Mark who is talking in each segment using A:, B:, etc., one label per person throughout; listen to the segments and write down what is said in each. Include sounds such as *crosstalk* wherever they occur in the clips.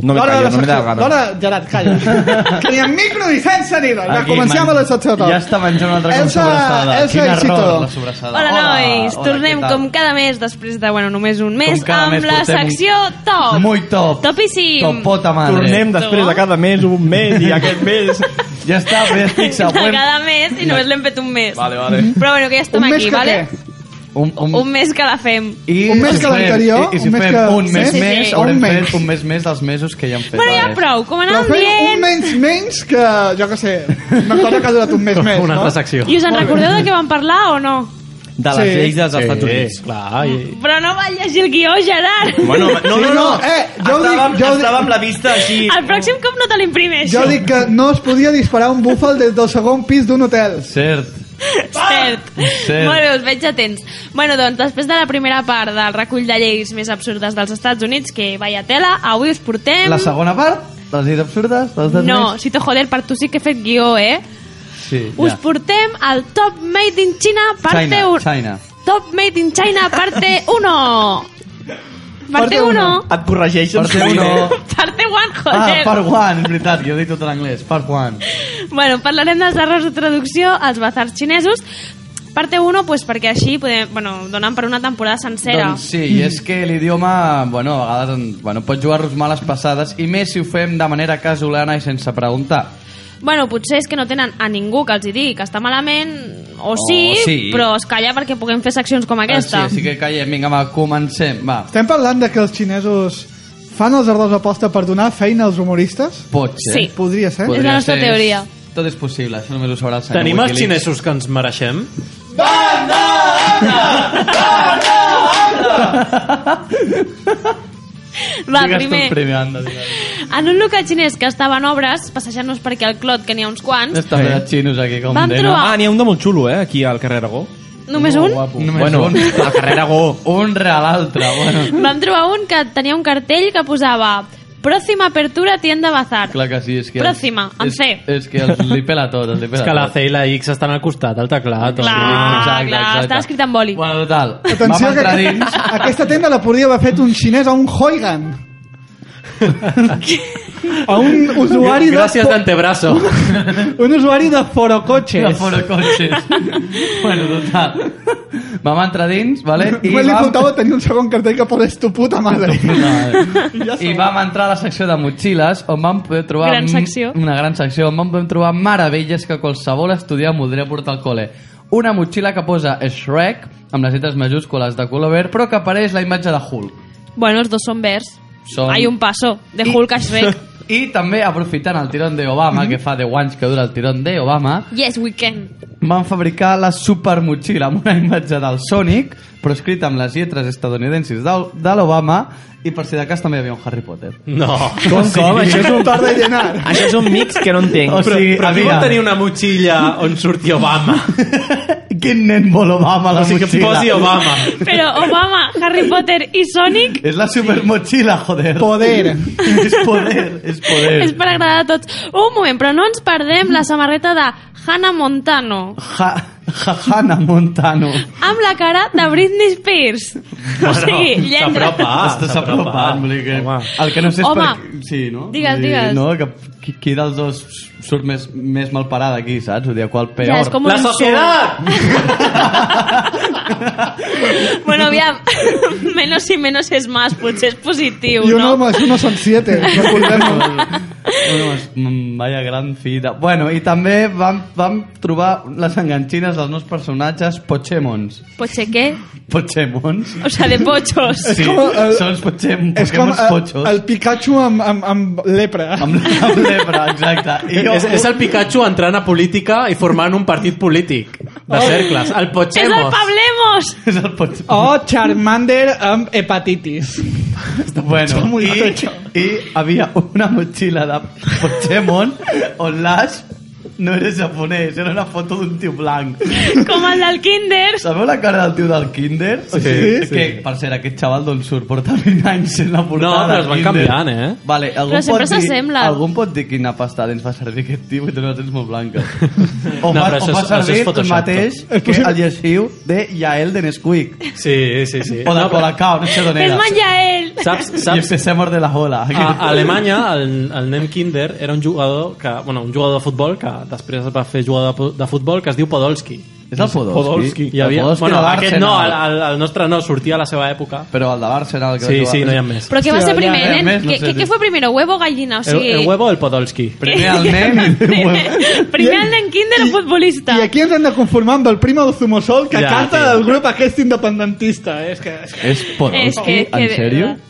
A: No me
B: L'hora de
A: callo,
B: la
A: no me da
B: secció. L'hora...
A: ganas.
B: Gerard,
A: *laughs*
B: calla. que ni amb micro ni sense sonido. Va,
A: Aquí,
B: comencem
A: man.
B: a la secció tot.
A: Ja està menjant una altra com
B: Elsa-
A: sobrassada.
B: Elsa
A: Quin
B: Éxito.
A: error, la sobrassada.
C: Hola, nois!
A: hola,
C: Tornem
A: què tal?
C: com cada mes després de, bueno, només un
A: Com
C: mes,
A: cada
C: amb
A: mes
C: la
A: portem un-
C: secció top.
A: Muy top.
C: Topíssim.
A: Topota madre.
D: Tornem després de cada mes, un mes *laughs* i aquest mes...
A: Ja està, però ja estic
C: de
A: següent.
C: cada mes i només l'hem fet un mes.
D: Vale, vale.
C: Però bueno, que ja estem
B: Un mes
C: aquí,
B: que
C: vale?
B: què?
A: Un, un,
C: Un mes que la fem.
A: i
B: un mes
A: si
B: que l'anterior,
A: fem- I, i si
B: un mes
A: fem
B: que-
A: un mes
C: Sí, sí,
A: més,
C: sí.
A: haurem
B: Un menys.
A: fet un mes més dels mesos que ja hem fet.
C: Bueno, ja
A: vale.
C: prou, com
B: Però
C: anàvem
B: fem un
C: dient...
B: menys menys que, jo que sé, una cosa que ha durat un
A: *laughs*
B: mes
A: ¿eh?
B: més,
D: Una
B: no?
D: altra secció.
C: I us en recordeu de què vam parlar o no?
A: De les
B: Sí.
A: lleis dels Estats Units.
D: clar. I...
C: Però no va llegir el guió, Gerard!
E: Bueno, no,
B: Sí,
E: no, no.
B: no, eh, jo ho dic-
E: estàvem,
B: jo ho dic-
E: estàvem la vista així.
C: El pròxim cop no te l'imprimeixo.
B: Jo dic que no es podia disparar un búfal des del segon pis d'un hotel.
A: Cert.
C: *laughs* Cert.
A: Cert.
C: Molt bé, us veig atents. Bueno, doncs, després de la primera part del recull de lleis més absurdes dels Estats Units, que vaya tela, avui us portem...
A: La segona part, de les lleis absurdes dels Estats
C: No,
A: Units.
C: si te joder, per tu sí que he fet guió, eh?
A: Sí,
C: Us
A: ja.
C: portem al Top Made in China parte
A: China,
C: 1.
A: China.
C: Top Made in
A: *laughs*
C: China parte 1. Parte 1.
E: Et corregeixen.
A: Part uno.
C: *laughs* Parte 1,
A: Ah,
C: joder.
A: part one, és veritat, que ho dic tot en anglès. Part one.
C: Bueno, parlarem dels errors de traducció als bazars xinesos. Parte 1, pues, perquè així podem, bueno, donen per una temporada sencera.
A: Doncs sí, i és que l'idioma, bueno, a vegades en- bueno, pot jugar-nos males passades, i més si ho fem de manera casolana i sense preguntar.
C: Bueno, potser és que no tenen a ningú que els hi digui que està malament, o sí,
A: sí.
C: però es calla perquè puguem fer seccions com aquesta.
A: Ah, sí, sí que callem, vinga, va, comencem, va.
B: Estem parlant de que els xinesos fan els errors aposta per donar feina als humoristes?
A: Pot ser.
C: Sí.
B: Podria ser.
C: Podria. És la nostra
A: ser.
C: teoria.
A: Tot és possible, això només ho sabrà el senyor
D: Tenim els
A: Wikileaks.
D: xinesos que ens mereixem?
C: Va,
A: Digues tu
C: primer,
A: primer, anda, digues.
C: en un local xinès que estava en obres, passejant-nos per aquí al clot, que n'hi ha uns quants,
A: Estan bé de xinos aquí, com
C: Vam
A: de, no?
C: trobar-
D: Ah, n'hi ha un de molt xulo, eh, aquí al carrer Aragó.
C: només un,
A: Guapo. Només
D: bueno,
A: *laughs* un.
D: al carrer Aragó.
A: Un real altre, bueno.
C: vam trobar un que tenia un cartell que posava Pròxima apertura tienda bazar.
A: Clar que sí, és que...
C: Pròxima, en
A: és,
C: C.
A: És, que els li pela tot, els li pela
D: És que la
A: tot.
D: C i la X estan al costat, al teclat.
C: Clar,
A: Exacte,
C: clar,
A: exacte.
C: estava escrit en boli.
A: Bueno, total.
B: Atenció,
A: Vam
B: que
A: entrar
B: *laughs*
A: dins...
B: aquesta tenda la podria haver fet un xinès a un
A: *laughs*
B: hoigan. a un usuari
D: Gràcies
B: de...
D: d'antebraço.
B: *laughs* Un usuari de forocotxes.
A: De fora cotxes. *laughs* bueno, total. Vam entrar dins, vale?
B: Només li faltava tenir un segon cartell que posés tu puta
A: *laughs*
B: madre.
A: Vale. I vam entrar a la secció de motxilles on vam poder trobar
C: Gran secció.
A: una gran secció on vam poder trobar meravelles que qualsevol estudiant voldria portar al col·le una motxilla que posa Shrek amb les lletres majúscules de color verd però que apareix la imatge de Hulk
C: Bueno, els dos són verds.
A: Són-
C: Hay un paso, de Hulk a Shrek.
A: *laughs* i també aprofitant el tirón de Obama que fa 10 anys que dura el tirón de Obama
C: Yes, we can.
A: van fabricar la supermotxilla amb una imatge del Sonic, però escrita amb les lletres estadounidensis del- de l'Obama, i per si de cas també hi havia un Harry Potter.
D: No.
E: Com, com? Això
D: *laughs*
E: és un,
B: Tarda i llenar.
E: això és un mix que no entenc.
A: O sigui,
D: Però aquí
A: aviam.
D: vol tenir una motxilla on surti Obama.
A: *laughs* Quin nen vol Obama a la
D: O sigui, que
A: motxilla?
D: posi Obama.
C: Però Obama, Harry Potter i Sonic
A: És la supermotxilla, joder.
B: Poder.
A: és poder, és poder.
C: és per agradar a tots. Un moment, però no ens perdem la samarreta de Hannah Montano
A: Ha, ha, Hannah Montano.
C: amb la cara de Britney Spears. o sigui, lletra...
D: S'apropa,
A: Estàs apropant, vull dir que... El que no sé és
C: Home.
A: per... Sí, no?
C: Digues,
A: Vull dir,
C: digues.
A: No, que qui, qui dels dos surt més, més mal parada aquí, saps? Vull dir, qual peor.
C: Ja, és com un
D: La
C: insult.
D: societat!
C: Bueno, aviam, *laughs* menos i menos és más, potser és positiu,
B: I un
C: no?
B: home és uno son siete, recordem-ho.
A: Bueno, es- mm, vaya gran fita. Bueno, i també vam, vam trobar les enganxines dels nous personatges Pochemons.
C: Potser què?
A: Pochemons?
C: O sea, de pochos.
A: Sí,
B: com el-
A: són els Pochem,
B: És com
A: Pokémons
B: el,
A: Pochos.
B: el Pikachu amb, amb, amb lepra.
A: Amb, amb lepra, exacte. I jo,
D: És, és el Pikachu entrant a política i formant un partit polític
A: Oh.
D: de cercles. El
C: ¡Es el
D: Pochemos.
A: *laughs*
C: Pablemos!
A: és el Pochemons.
B: O Charmander amb hepatitis. Està
A: Bueno,
B: molt
A: i,
B: gato,
A: i havia una motxilla de Pokémon on l'Ash no era japonès, era una foto d'un tio blanc.
C: Com el del Kinder.
A: Sabeu la cara del tio del kinder? O sigui,
D: sí.
A: que, per cert, aquest xaval d'on surt porta 20 anys sent la portada
D: No, però
A: del
D: es van
A: Kinder.
D: canviant, eh?
A: Vale, algú
C: Però sempre
A: pot dir-
C: s'assembla.
A: Algú em pot dir quina pasta de dents fa servir aquest tio i té les dents molt
D: *laughs*
A: blanques. O,
D: No,
A: fa,
D: però
A: o
D: això és-
A: fa
D: això és
A: servir el
D: Photoshop,
A: mateix
B: tot.
A: que el lleixiu de Yael de Nesquik.
D: Sí, sí, sí.
A: O de Colacao, no sé d'on
C: Es
A: era.
C: Mayael.
D: Saps,
A: I
D: saps,
A: empecemos de la jola.
D: a, a Alemanya el, el nen Kinder era un jugador que, bueno, un jugador de futbol que després es va fer jugador de pu- de futbol que es diu Podolski.
A: És el Podolski?
D: Hi havia,
A: El Podolski
D: bueno,
A: de
D: aquest
A: l'Arsenal.
D: no, el, el, el, nostre no, sortia a la seva època.
A: Però el de Barcelona... El que
D: Sí,
A: va
D: sí,
A: jugar-
D: no hi ha més.
C: Però què va
A: Hòstia,
C: ser
A: ja,
C: primer,
A: ja,
C: nen?
A: més, no
C: Què-
A: sé
C: què-
A: si-
C: què fue primero, huevo o gallina? O
D: El,
C: sigui...
D: el huevo o el Podolski?
A: Primer el nen i
D: *laughs*
A: després...
C: *laughs* Primer el nen Kinder o futbolista.
B: I aquí ens hem de conformar amb el primo de Zumosol que
D: Ja,
B: ja, canta
D: tio.
B: del grup aquest independentista. eh? És que, és que...
A: *laughs* És Podolski,
C: És que- que
A: en
C: de
A: sèrio?
C: verdad.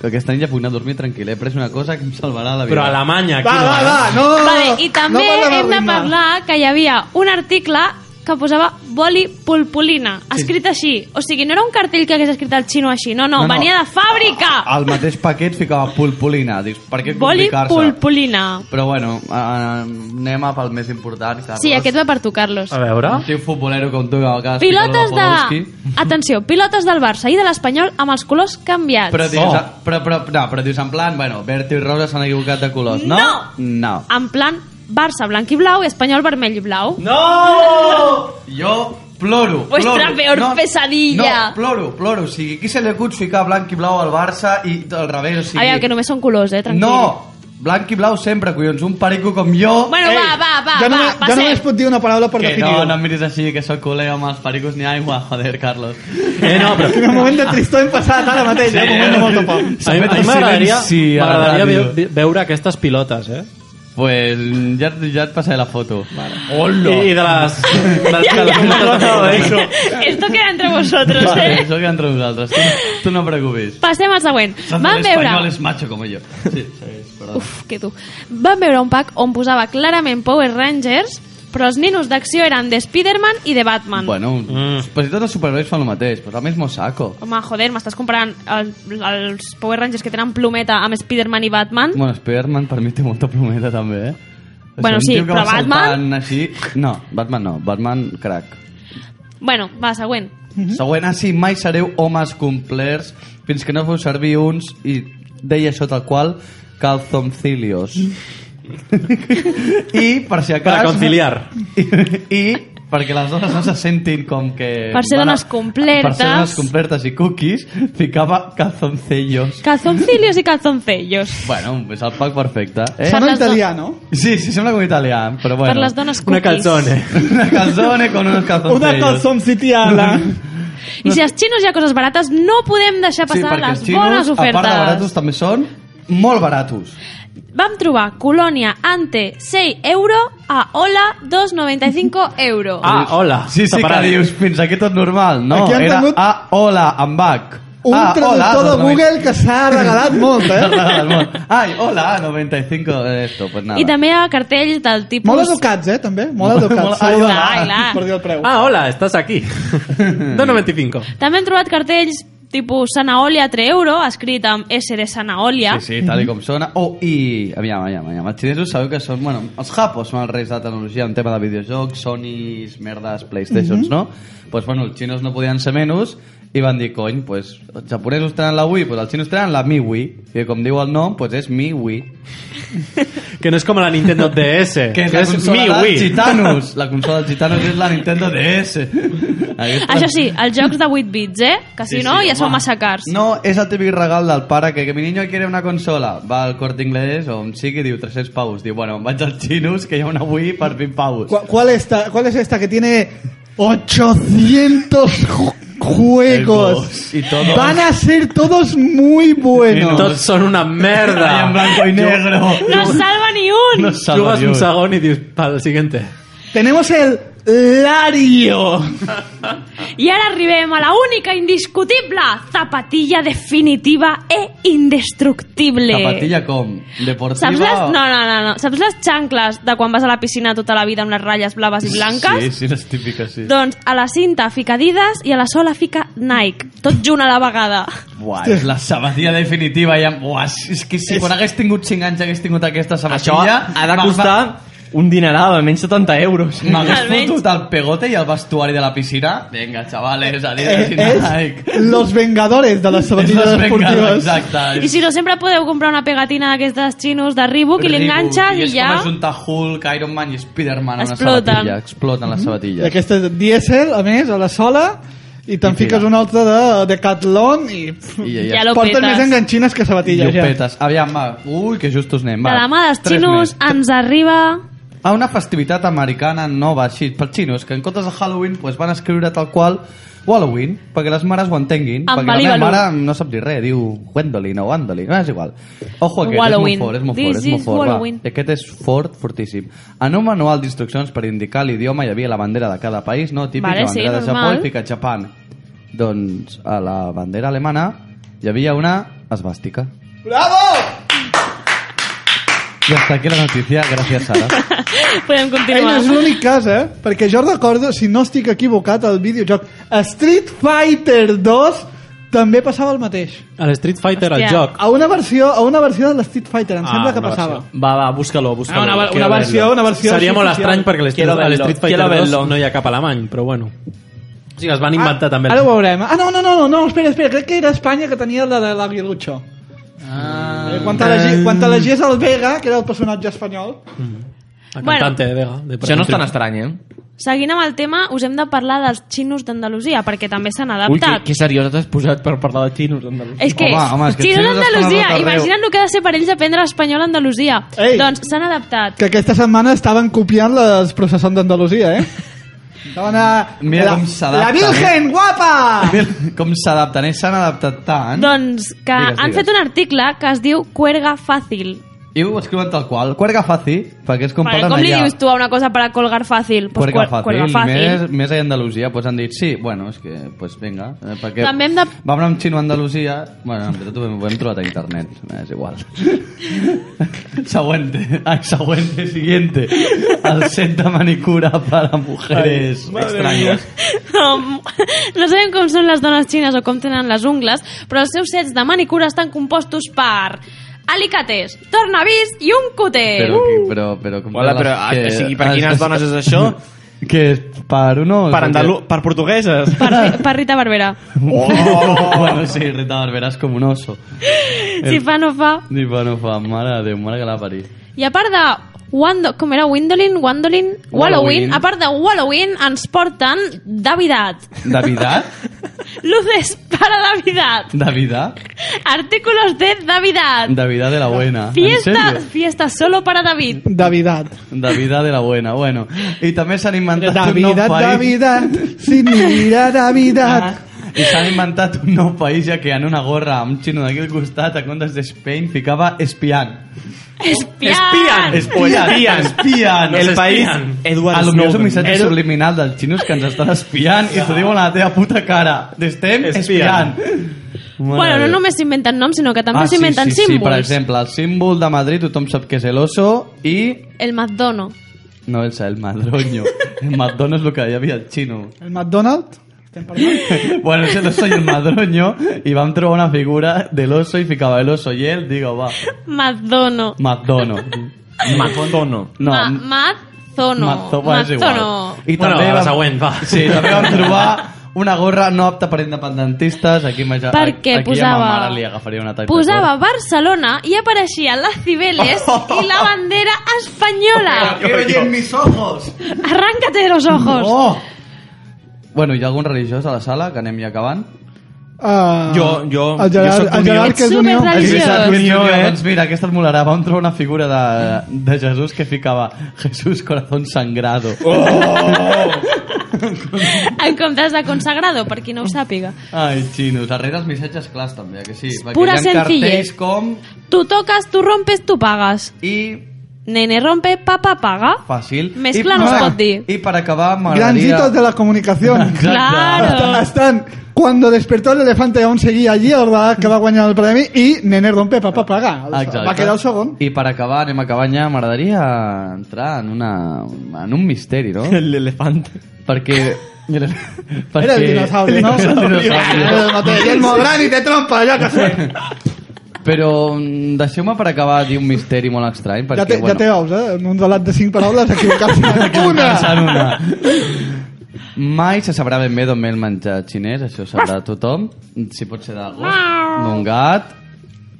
A: Que aquest any ja puc anar a dormir tranquil, he pres una cosa que em salvarà la vida.
D: Però a Alemanya, aquí
B: Va,
D: no.
B: va,
D: eh?
B: va, no!
C: Vale, I també
B: no
C: hem de
B: ritme.
C: parlar que hi havia un article que posava boli pulpulina, escrit així. O sigui, no era un cartell que hagués escrit el xino així, no, no,
A: No, no.
C: venia de fàbrica.
A: Al mateix paquet ficava pulpulina. Dic, per què
C: Boli
A: complicar-se?
C: pulpulina.
A: Però bueno, eh, anem a pel més important, Carles.
C: Sí, aquest va per tu, Carlos.
D: A veure...
A: Un tio futbolero com tu, que acabes
C: Pilotes
A: ficant-lo al
C: de...
A: Podolski.
C: Atenció, pilotes del Barça i de l'Espanyol amb els colors canviats.
A: Però dius,
D: Oh.
A: oh. però, però, no, però dius en plan, bueno, Berto i Rosa s'han equivocat de colors, no?
C: No.
A: No.
C: En plan, Barça blanc i blau i Espanyol vermell i blau.
A: No! Jo ploro,
C: Vuestra
A: ploro.
C: peor pesadilla.
A: No, ploro, ploro. O sigui, qui se li acut ficar blanc i blau al Barça i al revés, o sigui...
C: Aviam, que només són colors, eh? Tranquil.
A: No! Blanc i blau sempre, collons. Un perico com jo...
C: Bueno,
B: Ei,
C: va, va, va,
B: jo
C: va,
B: només, jo
C: passem.
B: només puc dir una paraula per
A: que
B: definir
A: no, no em miris així, que sóc culer amb els pericos ni aigua. Joder, Carlos.
D: Eh, no, però...
B: Quin moment de tristor hem passat ara mateix, eh? Un moment de molta
D: *laughs*
B: por.
D: A mi, a mi
A: el
D: m'agradaria
A: silenci a la
D: m'agradaria
A: ràdio.
D: ve- ve- veure aquestes pilotes, eh?
A: Pues ja, ja et passaré la foto.
D: Hola! I, i de les... De les
C: Ja, ja,
D: de les-
C: *laughs* no, no,
D: de les-
C: eso. *laughs* Esto queda entre vosotros,
A: Vale,
C: eh?
A: això que entre nosaltres. Tu, tu no preocupis.
C: Passem al següent. Vam
A: Espanyol
C: veure...
A: és macho com jo. Sí, sí, perdó.
C: Uf, que tu. Vam veure un pack on posava clarament Power Rangers, però els ninos d'acció eren de Spider-Man i de Batman.
A: Bueno, mm. pues si tots els superherois fan el mateix, pues el mismo saco.
C: Home, joder, m'estàs comparant el, els Power Rangers que tenen plometa amb Spider-Man i Batman?
A: Bueno, Spider-Man per mi té molta promesa també, eh? O sigui,
C: Bueno,
A: un
C: sí,
A: tio que va
C: però Batman-
A: saltant Així... No, Batman no, Batman crack.
C: Bueno, va, següent.
A: Següent, així mai sereu homes complerts fins que no feu servir uns i deia això tal qual calzoncilios.
C: Mm.
A: *laughs* I per si
D: Per
A: acas...
D: a conciliar.
A: I, i perquè les dones no se sentin com que...
C: Per ser
A: van a-
C: dones complertes.
A: Per ser dones complertes i cookies, ficava calzoncillos.
C: Calzoncillos i
A: *laughs*
C: calzoncellos.
A: Bueno, és el pack perfecte. Eh?
C: Per
B: Sona
C: les do-
B: italià, no?
A: Sí, sí, sembla com italià, però bueno.
C: Per les dones cookies.
D: Una calzone.
A: Una calzone con unos calzoncillos.
B: Una calzoncitiana.
D: *laughs* Ah,
C: I si als xinos hi ha coses barates, no podem deixar
A: Sí,
C: passar
A: perquè
C: les
A: els xinos,
C: bones
A: a part de baratos,
C: ofertes.
A: també són molt baratos.
C: Vam trobar Colònia Ante 6 euro a Hola
A: *laughs*
C: 2,95 euro.
D: Ah, hola.
A: Sí, sí,
D: Separat.
A: que dius, fins aquí tot normal. No,
B: Aquí han
A: era
B: tingut-
A: a hola, en bac.
B: Un
A: ah,
B: traductor de Google que s'ha regalat molt,
D: *laughs*
B: eh?
A: *laughs* Google. Ai, hola, 95 de esto, pues nada.
C: I també hi ha cartells del tipus...
B: Molt educats, eh, també? Molt
A: Molt-
B: educats.
A: Ai,
B: Saluda,
C: clar, clar.
B: Per dir el preu.
D: Ah, hola, estàs
A: *laughs*
D: aquí. 2,95.
C: També hem trobat cartells tipus Sanaolia 3 euro, escrit amb S de Sanaolia.
A: Sí, sí, tal i com sona. Oh, i... Aviam, aviam, aviam. Els xinesos sabeu que són... Bueno, els japos són els reis de la tecnologia en tema de videojocs, Sonys, merdes, Playstations, no? Doncs, pues, bueno, els xinos no podien ser menys i van dir, cony, pues, els japonesos tenen la Wii, pues, els xinos tenen la MiWi, que com diu el nom, pues, és MiWi,
D: Que no és com la Nintendo DS.
A: que és la consola
D: MIUI.
A: dels gitanos. La consola dels gitanos és la Nintendo *laughs* DS.
C: Això sí, els jocs de 8 bits, eh? Que si no, ja sou massa cars.
A: No, és el típic regal del pare que, que mi niño quiere una consola. Va al Corte Inglés o on sigui, diu 300 paus. Diu, bueno, em vaig als xinos, que hi ha una Wii per 20 paus.
B: ¿Cuál, cuál esta, ¿Cuál es esta que tiene 800 juegos.
A: Y todo.
B: Van a ser todos muy buenos.
D: Tots són una merda.
A: en blanco y negro.
C: No es salva ni un.
A: No
D: Jugues un
A: Dios.
D: segon i dius, pel siguiente.
B: Tenemos el Lario.
A: *laughs*
C: I ara arribem a la única indiscutible zapatilla definitiva e indestructible.
A: Zapatilla com? Deportiva?
C: Saps les...
A: o-
C: No, no, no, no. Saps les xancles de quan vas a la piscina tota la vida amb les ratlles blaves i blanques?
A: Sí, sí, les típiques, sí.
C: Doncs a la cinta fica Adidas i a la sola fica Nike. Tot junt a la vegada.
A: Buah, és la sabatilla definitiva. Ja... Buah, és- és que si quan hagués tingut 5 anys hagués tingut aquesta
E: Això
A: sabatilla...
E: ha de costar un dineral, almenys 70 euros.
A: M'hagués
C: Almenys.
A: fotut el pegote i el vestuari de la piscina. Venga, chavales, adidas
B: Eh,
A: i Nike.
B: és los Vengadores de les
A: *laughs* Los
B: sabatilles
A: Vengadores,
B: esportives.
A: Exacte.
C: I si no, sempre podeu comprar una pegatina d'aquestes xinos de Reebok i li enganxes i
A: és
C: ja...
A: com ajuntar Hulk, Iron Man i Spider-Man a una
C: Exploten.
A: sabatilla. Exploten les
B: I
A: sabatilles.
B: aquesta és dièsel, este a més, a la sola, i te'n fiques una altra de Decathlon i...
A: I ja,
C: Ja
A: ja.
C: lo
B: Portes
C: petes.
B: més enganxines que
A: I
B: sabatilles,
A: ho
B: ja.
A: petes. Aviam, va. Ui, que justos anem.
C: De
A: Va.
C: la mà dels
A: Tres
C: xinos
A: més.
C: ens arriba...
A: a una festivitat americana nova així per xinos, que en comptes de Halloween pues, van escriure tal qual Halloween, perquè les mares ho entenguin,
C: Amb
A: perquè la meva
C: Balíbalú.
A: mare no sap dir res, diu Gwendolyn o Gwendolyn, no és igual. Ojo aquest,
C: Halloween.
A: és molt fort, és molt
C: This
A: fort, és molt
C: is
A: fort,
C: Halloween.
A: va. Aquest és fort, fortíssim. En un manual d'instruccions per indicar l'idioma hi havia la bandera de cada país, no? Típic,
C: Vale,
A: la bandera
C: sí,
A: de Japó
C: normal.
A: i pica Japan. Doncs a la bandera alemana hi havia una esbàstica. Bravo! I hasta aquí la notícia, gràcies
C: *laughs*
A: Sara.
C: Podem
B: Ell
C: continuar.
B: és l'únic cas, eh? Perquè jo recordo, si no estic equivocat, el videojoc Street Fighter 2 també passava el mateix.
D: A l'Street Fighter, al
C: Hòstia.
D: joc.
B: A una versió, a una versió de l'Street Fighter, em
D: Ah,
B: sembla que
D: una
B: passava.
D: versió.
E: Va, va, busca-lo, busca-lo.
B: Ah, una- una
E: Quiero
B: versió,
E: verlo.
B: una versió
D: Seria
B: així
D: molt
B: oficial.
D: estrany perquè a l'Street-
E: Quiero
D: a
E: verlo,
D: l'Street
E: quiero
D: Fighter 2
E: verlo.
D: no hi ha cap alemany, però bueno. O sigui, es
B: Ah,
D: van inventar també.
B: Ara ho veurem. Ah, no, no, no, no, no, espera, espera, crec que era Espanya que tenia la de l'Aguilucho. Ah, eh, quan t'elegi- quan t'elegies el Vega, que era el personatge espanyol,
D: La cantante de Vega. De
E: Això no és tan estrany, eh?
C: Seguint amb el tema, us hem de parlar dels xinos d'Andalusia, perquè també s'han
E: Ui, que,
C: adaptat.
E: que seriós t'has posat per parlar de xinos. Andalús.
C: És que,
A: Home, home, és que els
C: xinos
A: xinos estan a
C: d'Andalusia,
A: tot arreu.
C: imagina't el que ha de ser per ells aprendre espanyol a Andalusia.
B: Ei.
C: Doncs s'han adaptat.
B: que aquesta setmana estaven copiant les processons d'Andalusia, eh? Estaven a...
A: Mira
B: la,
A: com s'adapta,
B: La Virgen, guapa!
A: Com s'adapten, eh? S'han adaptat tant.
C: Doncs que
A: Digues,
C: han
A: digues.
C: fet un article que es diu Cuerga Fàcil.
A: I ho escriuen tal qual. Cuerga fàcil, perquè és com
C: Vale,
A: parlen
C: com li
A: allà.
C: dius tu a una cosa per a colgar fàcil? Pues
A: Cuerga
C: cuer-
A: fàcil.
C: Cuerga fàcil.
A: Més, més a Andalusia, pues han dit, sí, bueno, és que, pues vinga. Eh, perquè
C: També hem de-
A: Vam anar amb xino a Andalusia... Bueno, en veritat ho hem, ho hem trobat a internet, eh, és igual. *laughs* Següente. Ai, següente, siguiente. El set de manicura para mujeres extrañas.
C: Um, *laughs* no sabem com són les dones xines o com tenen les ungles, però els seus sets de manicura estan compostos per alicates, tornavís i un cuter.
A: Però, qui- però, però, com
E: Hola,
A: que
E: però,
A: les que-
E: o sigui, per quines
A: *laughs* es-
E: dones és això?
A: Que és per uno...
E: Per, andalu per portugueses.
D: *laughs*
C: Per, per Rita
A: *laughs*
C: Barberà.
A: Oh! *laughs* bueno, sí, Rita Barberà és com un oso.
C: Si fa, no fa.
A: I bueno, fa, mare de Déu, mare que la parí.
C: I a part de Wando, com era Windolin, Wandolin, Wallowin, a part de Wallowin ens porten Davidat.
A: Davidat?
C: Luces para Davidat.
A: Davidat?
C: Artículos de Davidat.
A: Davidat de la buena. En
C: Fiesta,
A: sèrio?
C: fiesta solo para David.
B: Davidat.
A: Davidat de la buena, bueno. I també s'han inventat un
B: Davidat,
A: nou país.
B: Davidat, si mira Davidat.
A: I s'han inventat un nou país, ja que en una gorra amb un xino d'aquí al costat, a comptes d'Espain, ficava espiant.
C: Espiar.
A: Espiant, espiant.
E: El país Edward
A: A lo millor és un
E: Snowden.
A: missatge
E: Edu-
A: subliminal dels xinos que ens estan espiant i t'ho diuen a la teva puta cara. T'estem
E: Espiant.
A: espiant.
C: Bueno, no només s'inventen noms, sinó que també s'inventen
A: eh, Ah, sí, sí, Sí, per
C: símbols.
A: exemple, el símbol de Madrid tothom sap que és el oso i...
C: el *laughs* McDono.
A: No, el, el
C: *laughs*
A: madroño. El madroño és el que hi havia al xino. *laughs*
B: El McDonald? Estem parlant?
A: Bueno, és el oso i el madroño i vam trobar una figura de l'oso i ficava el oso i ell, digo, va,
C: McDono.
A: madroño.
E: Macondo.
A: No,
C: Ma Mazzono.
A: Mazzo, bueno, és igual.
C: Mazzono.
A: I
D: Bueno,
A: també
D: la
A: vam-
D: següent, va.
A: Sí, també
D: *laughs*
A: vam trobar una gorra no apta per independentistes. Aquí, ma-
C: Perquè
A: aquí
C: posava-
A: a ma mare li agafaria una taca.
C: Posava Pues Barcelona i apareixia les Cibeles i
A: *laughs*
C: la bandera espanyola.
A: en mis ojos!
C: Arráncate de los ojos.
A: Oh! Bueno, hi ha algun religiós a la sala, que anem ja acabant?
B: Uh,
E: Jo- jo-
B: el Gerard,
E: jo soc
B: el Gerard
E: Ets
B: que és unió.
C: superreligiós. Religiós.
E: És veritat,
A: Unió,
E: Unió, eh?
A: Doncs mira, aquesta et molarà. Vam trobar una figura de, de Jesús que ficava Jesús corazón sangrado.
B: Oh!
C: En comptes de consagrado, per qui no ho sàpiga.
A: Ai, xinos, darrere els missatges clars també, eh, que sí. Perquè
C: pura
A: hi ha cartells
C: senzillez.
A: com
C: Tu toques, tu rompes, tu pagas.
A: i
C: Nene rompe, papa paga.
A: fàcil.
C: Mescla
A: I
C: no es
A: per-
C: pot dir.
A: I per acabar
B: Grans
A: m'agradaria...
B: hitos de la
A: *laughs*
B: comunicación. Hasta-
C: Claro.
B: Están cuando despertó el elefante aún seguía allí, el Radak que va guanyar el premi i Nene rompe papa paga.
A: Exacte.
B: Va quedar el segon.
A: I per acabar, anem a cabanya, m'agradaria entrar en, una, en un
B: *laughs*
A: misteri, no?
D: *laughs*
E: L'elefante.
A: Perquè... Era,
B: Era el dinosaurio, no? *laughs*
A: Pues Era el dinosaurio.
B: No te el molt gran i té trompa, allò que sé.
A: Però mm, deixeu-me per acabar dir un misteri molt estrany, perquè,
B: Ja té, ja
A: Pues bueno...
B: té ous, eh? En un relat de cinc
A: *laughs*
B: paraules, equivocar-se en
A: Pensant
B: una.
A: una. *laughs* Mai se sabrà ben bé d'on ve el menjar xinès, això ho sabrà tothom. Si pot ser de gos, d'un gat...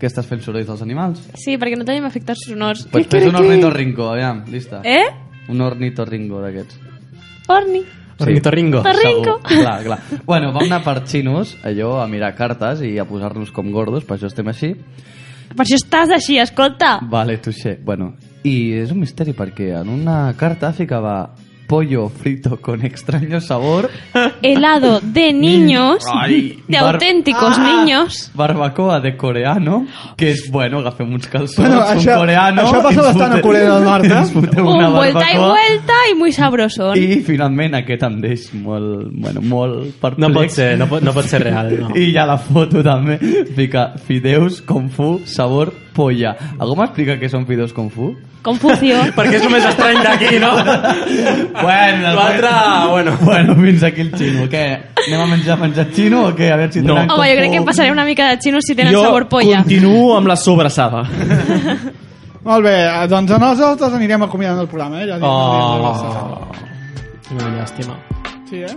A: Què estàs fent sorolls dels animals?
C: Sí, perquè no tenim efectes sonors.
A: Pues fes un ornitorrinco, aviam, lista.
C: Eh?
A: Un ornitorrinco d'aquests.
C: Orni.
D: Ornitorringo.
C: Ornitorrinco.
A: Segur, Clar, clar. Bueno, vam anar per xinos, allò, a mirar cartes i a posar-nos com gordos, per això estem així.
C: Per això estàs així, escolta.
A: Vale, touché. Bueno, i és un misteri perquè en una carta ficava pollo frito con extraño sabor,
C: Helado
A: *laughs*
C: de niños,
A: Ai.
C: de
A: Ah. Bar- Ah. *laughs*
C: auténticos niños.
A: barbacoa de coreano, que és, bueno, agafem uns calçons,
B: Bueno,
A: un
B: això-
A: coreano...
B: això passa
A: ens
B: bastant a
A: fotem-
B: Corea del Nord, eh?
A: *laughs* ens fotem una
C: Un vuelta y
A: barbacoa.
C: vuelta y muy sabroso.
A: I finalment aquest em deix molt, bueno, molt perplex.
D: No pot ser, no pot, no pot ser real. No.
A: *laughs* I ja la foto també fica fideus, kung fu, sabor, polla. Algú m'explica què són fideus kung fu?
C: Confucio.
A: *laughs*
D: Perquè és el més estrany d'aquí, no?
A: Bueno,
D: L'altre, bueno.
A: bueno, fins aquí el xino. Què? Anem a menjar menjar xino o què? A veure si
E: No.
A: tenen
C: Home, jo crec que passaré una mica de xino si tenen sabor polla.
E: continuo amb la sobrassada.
B: Molt bé, doncs nosaltres anirem acomiadant el programa, eh? Ja dic,
A: Ah.
D: Oh. Una llàstima.
B: Sí, eh?